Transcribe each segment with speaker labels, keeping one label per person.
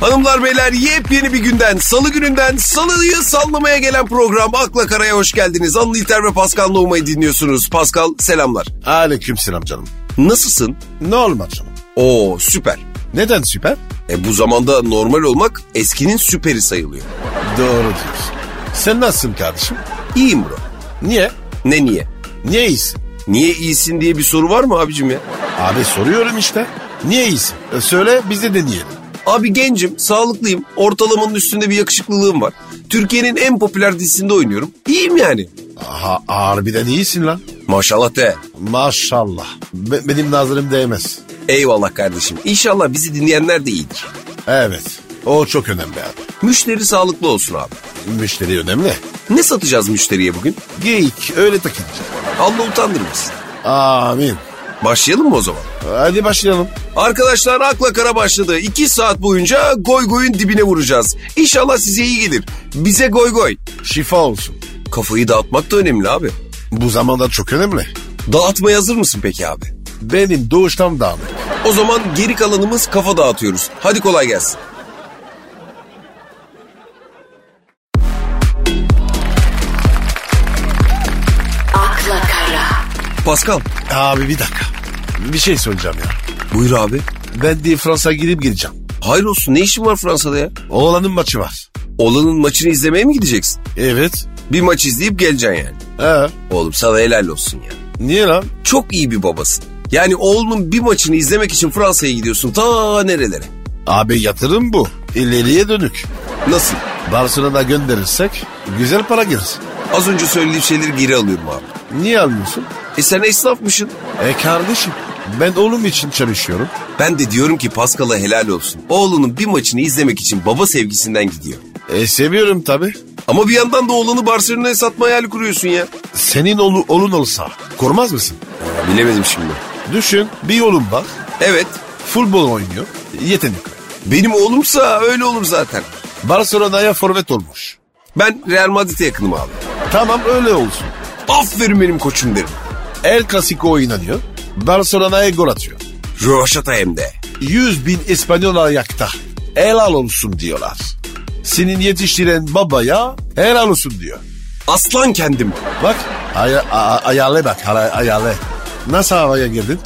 Speaker 1: Hanımlar beyler yepyeni bir günden, salı gününden, salıyı sallamaya gelen program Akla Kara'ya hoş geldiniz. Anıl İlter ve Pascal Nohuma'yı dinliyorsunuz. Pascal selamlar.
Speaker 2: Aleyküm selam canım.
Speaker 1: Nasılsın?
Speaker 2: Normal canım.
Speaker 1: Oo süper.
Speaker 2: Neden süper?
Speaker 1: E bu zamanda normal olmak eskinin süperi sayılıyor.
Speaker 2: Doğru diyorsun. Sen nasılsın kardeşim?
Speaker 1: İyiyim bro.
Speaker 2: Niye?
Speaker 1: Ne niye?
Speaker 2: Niye iyisin?
Speaker 1: Niye iyisin diye bir soru var mı abicim ya?
Speaker 2: Abi soruyorum işte. Niye iyisin? E, söyle biz de deneyelim.
Speaker 1: Abi gencim, sağlıklıyım, ortalamanın üstünde bir yakışıklılığım var. Türkiye'nin en popüler dizisinde oynuyorum. İyiyim yani.
Speaker 2: Aha, harbiden iyisin lan.
Speaker 1: Maşallah de.
Speaker 2: Maşallah. Be- benim nazarım değmez.
Speaker 1: Eyvallah kardeşim. İnşallah bizi dinleyenler de iyidir.
Speaker 2: Evet. O çok önemli abi.
Speaker 1: Müşteri sağlıklı olsun abi.
Speaker 2: Müşteri önemli.
Speaker 1: Ne satacağız müşteriye bugün?
Speaker 2: Geyik öyle takılacak.
Speaker 1: Allah utandırmasın.
Speaker 2: Amin.
Speaker 1: Başlayalım mı o zaman?
Speaker 2: Hadi başlayalım.
Speaker 1: Arkadaşlar akla kara başladı. 2 saat boyunca goy goyun dibine vuracağız. İnşallah size iyi gelir. Bize goy goy.
Speaker 2: Şifa olsun.
Speaker 1: Kafayı dağıtmak da önemli abi.
Speaker 2: Bu zamanda çok önemli.
Speaker 1: Dağıtmaya hazır mısın peki abi?
Speaker 2: Benim doğuştan dağınık.
Speaker 1: O zaman geri kalanımız kafa dağıtıyoruz. Hadi kolay gelsin.
Speaker 3: Akla Kara.
Speaker 1: Pascal.
Speaker 2: Abi bir dakika. Bir şey söyleyeceğim ya.
Speaker 1: Buyur abi.
Speaker 2: Ben de Fransa gidip gideceğim.
Speaker 1: Hayır olsun ne işin var Fransa'da ya?
Speaker 2: Oğlanın maçı var.
Speaker 1: Olanın maçını izlemeye mi gideceksin?
Speaker 2: Evet.
Speaker 1: Bir maç izleyip geleceksin yani.
Speaker 2: Ee,
Speaker 1: Oğlum sana helal olsun ya.
Speaker 2: niye lan?
Speaker 1: Çok iyi bir babasın. Yani oğlunun bir maçını izlemek için Fransa'ya gidiyorsun ta nerelere.
Speaker 2: Abi yatırım bu. İleriye dönük.
Speaker 1: Nasıl?
Speaker 2: Barcelona gönderirsek güzel para gelir.
Speaker 1: Az önce söylediğim şeyleri geri alıyorum abi.
Speaker 2: Niye almıyorsun?
Speaker 1: E sen esnafmışsın.
Speaker 2: E kardeşim ben oğlum için çalışıyorum.
Speaker 1: Ben de diyorum ki Pascal'a helal olsun. Oğlunun bir maçını izlemek için baba sevgisinden gidiyor.
Speaker 2: E seviyorum tabi.
Speaker 1: Ama bir yandan da oğlanı Barcelona'ya satma hayali kuruyorsun ya.
Speaker 2: Senin oğlu, oğlun olsa kormaz mısın?
Speaker 1: Bilemedim şimdi.
Speaker 2: Düşün bir oğlum var.
Speaker 1: Evet.
Speaker 2: Futbol oynuyor. Yetenekli.
Speaker 1: Benim oğlumsa öyle olur zaten.
Speaker 2: Barcelona'ya forvet olmuş.
Speaker 1: Ben Real Madrid'e yakınım abi.
Speaker 2: Tamam öyle olsun.
Speaker 1: Aferin benim koçum derim.
Speaker 2: El Clasico oynanıyor. Barcelona'ya gol atıyor.
Speaker 1: Rövaşata hem de.
Speaker 2: 100 bin İspanyol ayakta. Helal olsun diyorlar. Senin yetiştiren babaya helal olsun diyor.
Speaker 1: Aslan kendim.
Speaker 2: Bak aya, a- ayale bak hala- ayale. Nasıl havaya girdin?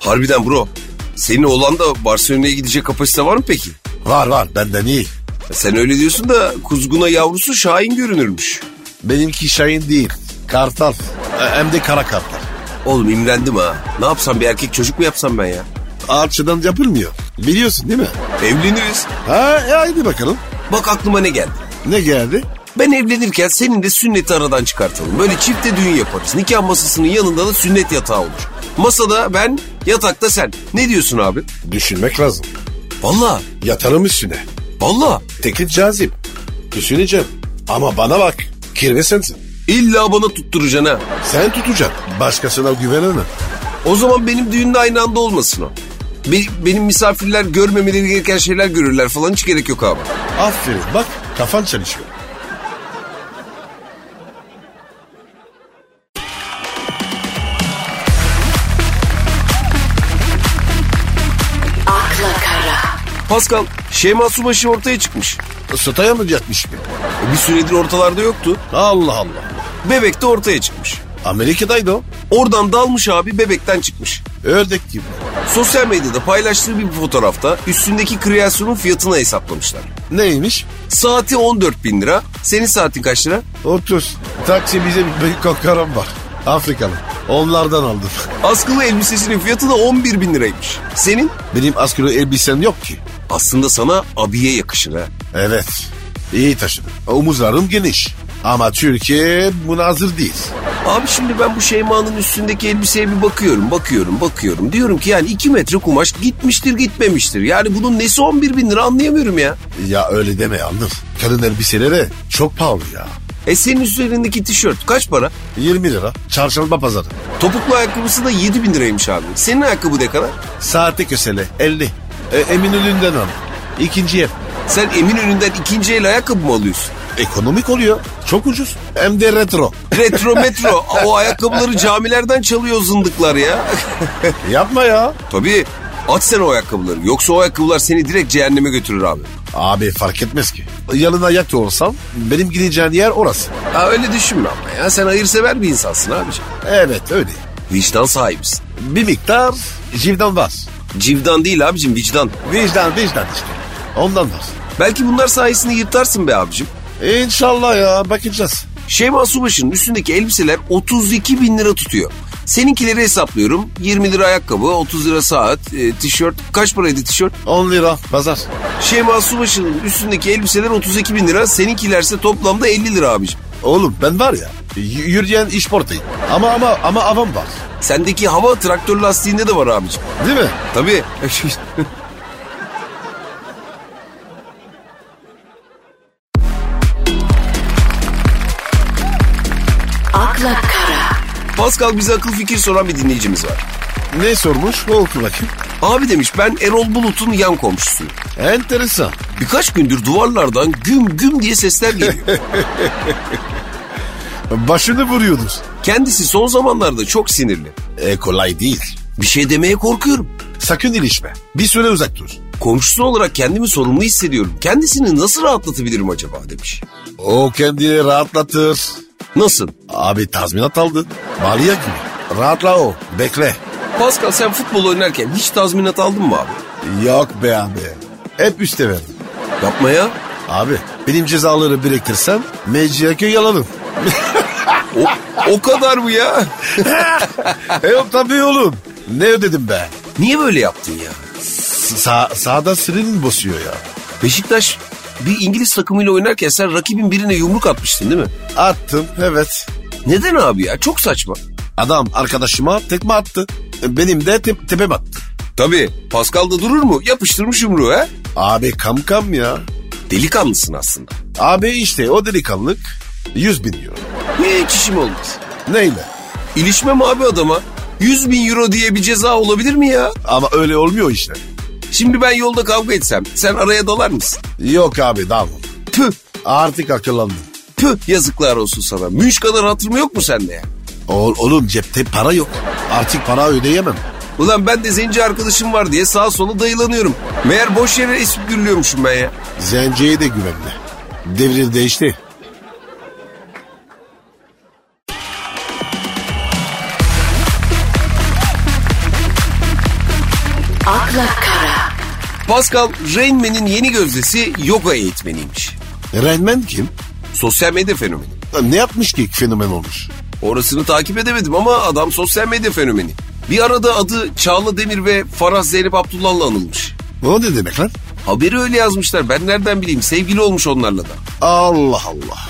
Speaker 1: Harbiden bro. Senin oğlan da Barcelona'ya gidecek kapasite var mı peki?
Speaker 2: Var var benden iyi.
Speaker 1: Sen öyle diyorsun da kuzguna yavrusu Şahin görünürmüş.
Speaker 2: Benimki Şahin değil. Kartal. E, Hem de kara kartal.
Speaker 1: Oğlum imrendim ha. Ne yapsam bir erkek çocuk mu yapsam ben ya?
Speaker 2: Ağaççıdan yapılmıyor. Biliyorsun değil mi?
Speaker 1: Evleniriz.
Speaker 2: Ha e, haydi bakalım.
Speaker 1: Bak aklıma ne geldi.
Speaker 2: Ne geldi?
Speaker 1: Ben evlenirken senin de sünneti aradan çıkartalım. Böyle çifte düğün yaparız. Nikah masasının yanında da sünnet yatağı olur. Masada ben, yatakta sen. Ne diyorsun abi?
Speaker 2: Düşünmek lazım.
Speaker 1: Valla,
Speaker 2: Yatarım üstüne.
Speaker 1: valla.
Speaker 2: Tekil cazip. Düşüneceğim. Ama bana bak. Kirve sensin.
Speaker 1: İlla bana tutturacaksın ha.
Speaker 2: Sen tutacaksın. Başkasına güvenemem.
Speaker 1: O zaman benim düğünde aynı anda olmasın o. Be- benim misafirler görmemeleri gereken şeyler görürler falan hiç gerek yok abi.
Speaker 2: Aferin bak kafan çalışıyor.
Speaker 3: Akla Kara.
Speaker 1: Pascal, Şeyma Subaşı ortaya çıkmış.
Speaker 2: Sotaya mı yatmış gibi?
Speaker 1: E, Bir süredir ortalarda yoktu.
Speaker 2: Allah Allah.
Speaker 1: Bebek de ortaya çıkmış.
Speaker 2: Amerika'daydı o.
Speaker 1: Oradan dalmış abi bebekten çıkmış.
Speaker 2: Ördek gibi.
Speaker 1: Sosyal medyada paylaştığı bir fotoğrafta üstündeki kreasyonun fiyatını hesaplamışlar.
Speaker 2: Neymiş?
Speaker 1: Saati 14 bin lira. Senin saatin kaç lira?
Speaker 2: 30. Taksi bize bir kokaram var. Afrikalı. Onlardan aldım.
Speaker 1: Askılı elbisesinin fiyatı da 11 bin liraymış. Senin?
Speaker 2: Benim askeri elbisem yok ki.
Speaker 1: Aslında sana abiye yakışır ha.
Speaker 2: Evet. İyi taşıdım. Omuzlarım geniş. Ama Türkiye buna hazır değil.
Speaker 1: Abi şimdi ben bu Şeyma'nın üstündeki elbiseye bir bakıyorum, bakıyorum, bakıyorum. Diyorum ki yani 2 metre kumaş gitmiştir gitmemiştir. Yani bunun nesi 11 bin lira anlayamıyorum ya.
Speaker 2: Ya öyle deme yalnız. Kadın elbiseleri çok pahalı ya.
Speaker 1: E senin üzerindeki tişört kaç para?
Speaker 2: 20 lira. Çarşamba pazarı.
Speaker 1: Topuklu ayakkabısı da 7 bin liraymış abi. Senin ayakkabı ne kadar?
Speaker 2: Saate kösele 50. E, Eminönü'nden al. İkinci ev.
Speaker 1: Sen Eminönü'nden ikinci el ayakkabı mı alıyorsun?
Speaker 2: Ekonomik oluyor. Çok ucuz. Hem de retro.
Speaker 1: Retro metro o ayakkabıları camilerden çalıyor zındıklar ya.
Speaker 2: Yapma ya.
Speaker 1: Tabii at sen o ayakkabıları yoksa o ayakkabılar seni direkt cehenneme götürür abi.
Speaker 2: Abi fark etmez ki. Yanına yak da olsam benim gideceğim yer orası.
Speaker 1: Ha öyle düşünme ama ya sen hayırsever bir insansın abiciğim.
Speaker 2: Evet öyle.
Speaker 1: Vicdan sahibisin.
Speaker 2: Bir miktar civdan var.
Speaker 1: Civdan değil abicim vicdan.
Speaker 2: Vicdan vicdan işte. Ondan var.
Speaker 1: Belki bunlar sayesinde yırtarsın be abicim.
Speaker 2: İnşallah ya bakacağız.
Speaker 1: Şeyma Subaşı'nın üstündeki elbiseler 32 bin lira tutuyor. Seninkileri hesaplıyorum. 20 lira ayakkabı, 30 lira saat, e, tişört. Kaç paraydı tişört?
Speaker 2: 10 lira pazar.
Speaker 1: Şeyma Subaşı'nın üstündeki elbiseler 32 bin lira. Seninkilerse toplamda 50 lira abicim.
Speaker 2: Oğlum ben var ya y- yürüyen iş portayım. Ama ama ama avam var.
Speaker 1: Sendeki hava traktör lastiğinde de var abicim.
Speaker 2: Değil mi?
Speaker 1: Tabii.
Speaker 3: akla kara,
Speaker 1: Pascal bize akıl fikir soran bir dinleyicimiz var.
Speaker 2: Ne sormuş? Ne oku bakayım.
Speaker 1: Abi demiş ben Erol Bulut'un yan komşusuyum.
Speaker 2: Enteresan.
Speaker 1: Birkaç gündür duvarlardan güm güm diye sesler geliyor.
Speaker 2: Başını vuruyordur.
Speaker 1: Kendisi son zamanlarda çok sinirli.
Speaker 2: E kolay değil.
Speaker 1: Bir şey demeye korkuyorum.
Speaker 2: Sakın ilişme. Bir süre uzak dur.
Speaker 1: Komşusu olarak kendimi sorumlu hissediyorum. Kendisini nasıl rahatlatabilirim acaba demiş.
Speaker 2: O kendini rahatlatır.
Speaker 1: Nasıl?
Speaker 2: Abi tazminat aldın. Maliye gibi. Rahatla o. Bekle.
Speaker 1: Pascal sen futbol oynarken hiç tazminat aldın mı abi?
Speaker 2: Yok be abi. Hep üste verdim.
Speaker 1: Yapma ya.
Speaker 2: Abi benim cezaları biriktirsem Mecidiyeköy yalanım.
Speaker 1: O, o kadar mı ya?
Speaker 2: e yok tabii oğlum. Ne ödedim be?
Speaker 1: Niye böyle yaptın ya?
Speaker 2: Sa sağda sırrını basıyor ya.
Speaker 1: Beşiktaş bir İngiliz takımıyla oynarken sen rakibin birine yumruk atmıştın değil mi?
Speaker 2: Attım evet.
Speaker 1: Neden abi ya? Çok saçma.
Speaker 2: Adam arkadaşıma tekme attı. Benim de tep tepem attı.
Speaker 1: Tabii. Pascal da durur mu? Yapıştırmış yumruğu ha?
Speaker 2: Abi kam kam ya.
Speaker 1: Delikanlısın aslında.
Speaker 2: Abi işte o delikanlık 100 bin euro.
Speaker 1: Hiç işim olmaz.
Speaker 2: Neyle?
Speaker 1: İlişmem abi adama. 100 bin euro diye bir ceza olabilir mi ya?
Speaker 2: Ama öyle olmuyor işte.
Speaker 1: Şimdi ben yolda kavga etsem sen araya dalar mısın?
Speaker 2: Yok abi tamam.
Speaker 1: Tüh
Speaker 2: Artık akıllandım.
Speaker 1: tüh yazıklar olsun sana. Münş kadar hatırım yok mu sende ya?
Speaker 2: Ol, oğlum cepte para yok. Artık para ödeyemem.
Speaker 1: Ulan ben de zenci arkadaşım var diye sağa sola dayılanıyorum. Meğer boş yere esip gürlüyormuşum ben ya.
Speaker 2: Zenciye de güvenme. Devir değişti.
Speaker 3: akla kara,
Speaker 1: Pascal Rain Man'in yeni gözdesi yoga eğitmeniymiş.
Speaker 2: Renmen kim?
Speaker 1: Sosyal medya fenomeni.
Speaker 2: Ne yapmış ki fenomen olmuş?
Speaker 1: Orasını takip edemedim ama adam sosyal medya fenomeni. Bir arada adı Çağla Demir ve Farah Zeynep Abdullah'la anılmış.
Speaker 2: O ne demek lan?
Speaker 1: Haberi öyle yazmışlar ben nereden bileyim sevgili olmuş onlarla da.
Speaker 2: Allah Allah.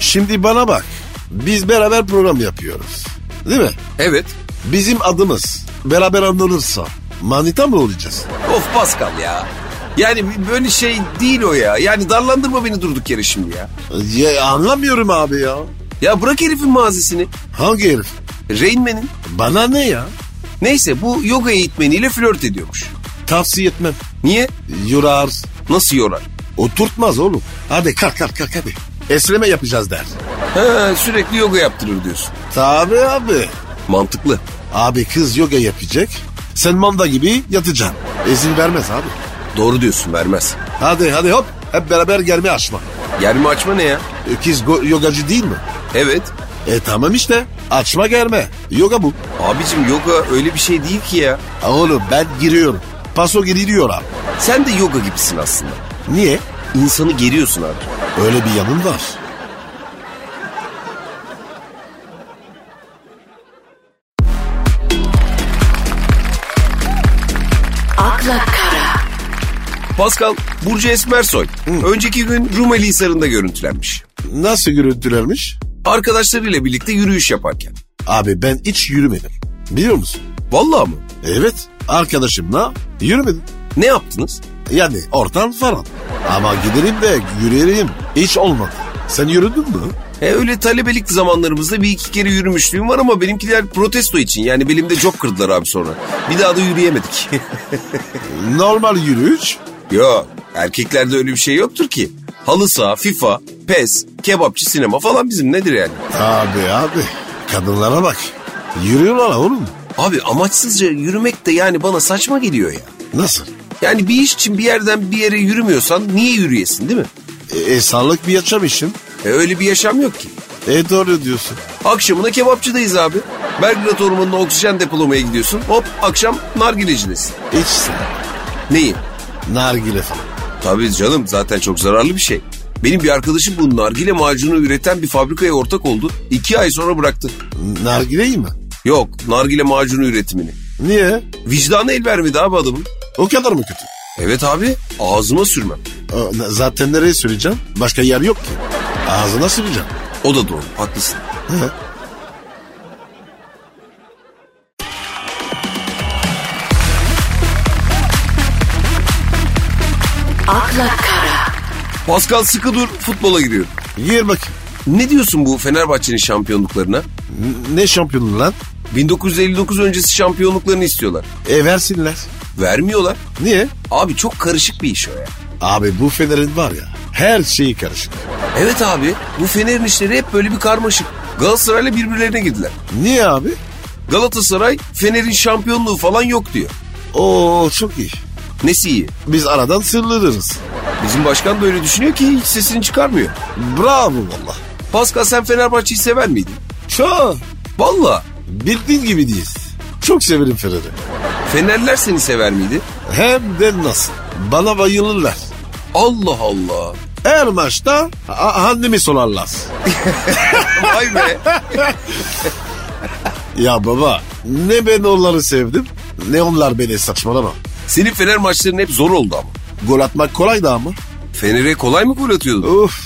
Speaker 2: Şimdi bana bak. Biz beraber program yapıyoruz. Değil mi?
Speaker 1: Evet.
Speaker 2: Bizim adımız beraber anılırsa manita mı olacağız?
Speaker 1: Of Pascal ya. Yani böyle şey değil o ya. Yani darlandırma beni durduk yere şimdi ya.
Speaker 2: Ya, anlamıyorum abi ya.
Speaker 1: Ya bırak herifin mazisini.
Speaker 2: Hangi herif?
Speaker 1: Rain Man'in.
Speaker 2: Bana ne ya?
Speaker 1: Neyse bu yoga eğitmeniyle flört ediyormuş.
Speaker 2: Tavsiye etmem.
Speaker 1: Niye?
Speaker 2: Yorar.
Speaker 1: Nasıl yorar?
Speaker 2: Oturtmaz oğlum. Hadi kalk kalk kalk hadi. Esneme yapacağız der.
Speaker 1: Ha, sürekli yoga yaptırır diyorsun.
Speaker 2: Tabi abi.
Speaker 1: Mantıklı.
Speaker 2: Abi kız yoga yapacak. Sen manda gibi yatacaksın. İzin vermez abi.
Speaker 1: Doğru diyorsun vermez.
Speaker 2: Hadi hadi hop. Hep beraber germe açma.
Speaker 1: Germe açma ne ya?
Speaker 2: E, Kız go- yogacı değil mi?
Speaker 1: Evet.
Speaker 2: E tamam işte. Açma germe. Yoga bu.
Speaker 1: Abicim yoga öyle bir şey değil ki ya.
Speaker 2: Oğlum ben giriyorum. Paso giriyor abi.
Speaker 1: Sen de yoga gibisin aslında.
Speaker 2: Niye?
Speaker 1: İnsanı geriyorsun abi.
Speaker 2: Öyle bir yanın var.
Speaker 3: akla kara,
Speaker 1: Pascal, Burcu Esmersoy. Önceki gün Rumeli Hisarı'nda görüntülenmiş.
Speaker 2: Nasıl görüntülermiş?
Speaker 1: Arkadaşlarıyla birlikte yürüyüş yaparken.
Speaker 2: Abi ben hiç yürümedim. Biliyor musun?
Speaker 1: Vallahi mı?
Speaker 2: Evet. Arkadaşımla yürümedim.
Speaker 1: Ne yaptınız?
Speaker 2: Yani ortam falan. Ama giderim de yürüyelim. Hiç olmadı. Sen yürüdün mü?
Speaker 1: E öyle talebelik zamanlarımızda bir iki kere yürümüşlüğüm var ama benimkiler protesto için. Yani belimde çok kırdılar abi sonra. Bir daha da yürüyemedik.
Speaker 2: Normal yürüyüş.
Speaker 1: Yok. Erkeklerde öyle bir şey yoktur ki. Halı saha, FIFA, PES, kebapçı, sinema falan bizim nedir yani?
Speaker 2: Abi abi. Kadınlara bak. Yürüyorlar oğlum.
Speaker 1: Abi amaçsızca yürümek de yani bana saçma geliyor ya.
Speaker 2: Nasıl?
Speaker 1: Yani bir iş için bir yerden bir yere yürümüyorsan niye yürüyesin değil mi?
Speaker 2: E, e, sağlık bir yaşamışım.
Speaker 1: E, öyle bir yaşam yok ki.
Speaker 2: E doğru diyorsun.
Speaker 1: Akşamına kebapçıdayız abi. Belgrad Ormanı'na oksijen depolamaya gidiyorsun. Hop akşam nargilecidesin.
Speaker 2: İçsin.
Speaker 1: Neyi?
Speaker 2: Nargile falan.
Speaker 1: Tabii canım zaten çok zararlı bir şey. Benim bir arkadaşım bu nargile macunu üreten bir fabrikaya ortak oldu. İki ay sonra bıraktı.
Speaker 2: Nargileyi mi?
Speaker 1: Yok nargile macunu üretimini.
Speaker 2: Niye?
Speaker 1: Vicdanı el vermedi abi adamın.
Speaker 2: O kadar mı kötü?
Speaker 1: Evet abi ağzıma sürmem.
Speaker 2: O, na- Zaten nereye süreceğim? Başka yer yok ki. Ağzına süreceğim.
Speaker 1: O da doğru haklısın.
Speaker 3: akla kara,
Speaker 1: Pascal sıkı dur futbola giriyor.
Speaker 2: Gir bakayım.
Speaker 1: Ne diyorsun bu Fenerbahçe'nin şampiyonluklarına?
Speaker 2: N- Ne şampiyonu lan?
Speaker 1: 1959 öncesi şampiyonluklarını istiyorlar.
Speaker 2: E versinler.
Speaker 1: Vermiyorlar.
Speaker 2: Niye?
Speaker 1: Abi çok karışık bir iş o ya.
Speaker 2: Abi bu Fener'in var ya her şeyi karışık.
Speaker 1: Evet abi bu Fener'in işleri hep böyle bir karmaşık. Galatasaray'la birbirlerine girdiler.
Speaker 2: Niye abi?
Speaker 1: Galatasaray Fener'in şampiyonluğu falan yok diyor.
Speaker 2: Oo çok iyi.
Speaker 1: Nesi iyi?
Speaker 2: Biz aradan sırlarız.
Speaker 1: Bizim başkan da öyle düşünüyor ki hiç sesini çıkarmıyor.
Speaker 2: Bravo valla.
Speaker 1: Pascal sen Fenerbahçe'yi sever miydin?
Speaker 2: Çok.
Speaker 1: Valla.
Speaker 2: Bildiğin gibi değil. Çok severim Fener'i.
Speaker 1: Fenerler seni sever miydi?
Speaker 2: Hem de nasıl. Bana bayılırlar.
Speaker 1: Allah Allah.
Speaker 2: Her maçta a- annemi sorarlar.
Speaker 1: Vay be.
Speaker 2: Ya baba ne ben onları sevdim ne onlar beni saçmalama.
Speaker 1: Senin Fener maçların hep zor oldu ama.
Speaker 2: Gol atmak kolay da ama.
Speaker 1: Fener'e kolay mı gol atıyordun?
Speaker 2: Uf.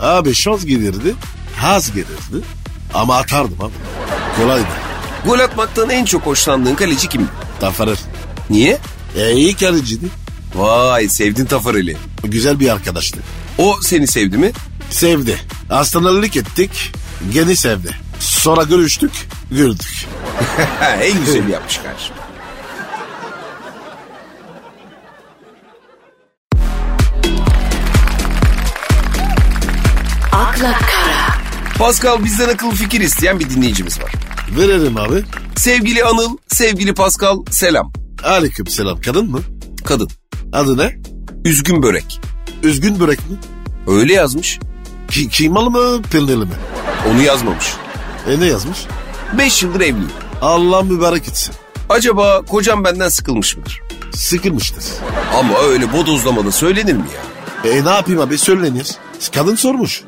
Speaker 2: Abi şans gelirdi. Haz gelirdi. Ama atardım abi. Kolaydı.
Speaker 1: Gol atmaktan en çok hoşlandığın kaleci kimdi?
Speaker 2: Tafarır.
Speaker 1: Niye?
Speaker 2: E iyi kaleciydi.
Speaker 1: Vay sevdin Tafarel'i.
Speaker 2: Güzel bir arkadaştı.
Speaker 1: O seni sevdi mi?
Speaker 2: Sevdi. Hastanelik ettik. Gene sevdi. Sonra görüştük. Güldük.
Speaker 1: en güzel yapmış kardeşim.
Speaker 3: akla kara,
Speaker 1: Pascal bizden akıl fikir isteyen bir dinleyicimiz var.
Speaker 2: Verelim abi.
Speaker 1: Sevgili Anıl, sevgili Pascal selam.
Speaker 2: Aleyküm selam. Kadın mı?
Speaker 1: Kadın.
Speaker 2: Adı ne?
Speaker 1: Üzgün börek.
Speaker 2: Üzgün börek mi?
Speaker 1: Öyle yazmış.
Speaker 2: Ki, kıymalı mı peynirli mi?
Speaker 1: Onu yazmamış.
Speaker 2: E ne yazmış?
Speaker 1: 5 yıldır evliyim.
Speaker 2: Allah mübarek etsin.
Speaker 1: Acaba kocam benden sıkılmış mıdır?
Speaker 2: Sıkılmıştır.
Speaker 1: Ama öyle bodozlamada söylenir mi ya?
Speaker 2: E ne yapayım abi söylenir. Kadın sormuş.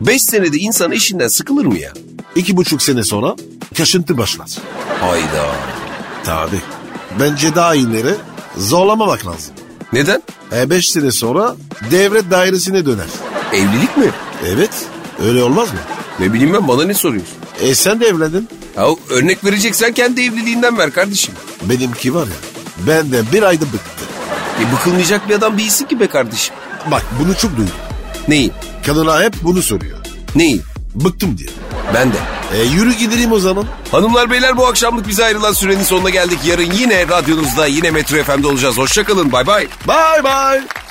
Speaker 1: 5 senede insan eşinden sıkılır mı ya?
Speaker 2: İki buçuk sene sonra kaşıntı başlar.
Speaker 1: Hayda.
Speaker 2: Tabi. Bence daha iyileri zorlamamak lazım.
Speaker 1: Neden?
Speaker 2: E beş sene sonra devlet dairesine döner.
Speaker 1: Evlilik mi?
Speaker 2: Evet öyle olmaz mı?
Speaker 1: Ne bileyim ben bana ne soruyorsun?
Speaker 2: E sen de evlendin.
Speaker 1: Ya örnek vereceksen kendi evliliğinden ver kardeşim.
Speaker 2: Benimki var ya ben de bir ayda bıktı.
Speaker 1: E bıkılmayacak bir adam değilsin ki be kardeşim.
Speaker 2: Bak bunu çok duydum.
Speaker 1: Neyi?
Speaker 2: Kadına hep bunu soruyor.
Speaker 1: Neyi?
Speaker 2: Bıktım diye.
Speaker 1: Ben de.
Speaker 2: E yürü gidelim o zaman.
Speaker 1: Hanımlar beyler bu akşamlık bize ayrılan sürenin sonuna geldik. Yarın yine radyonuzda yine Metro FM'de olacağız. Hoşçakalın bay bay.
Speaker 2: Bye bye.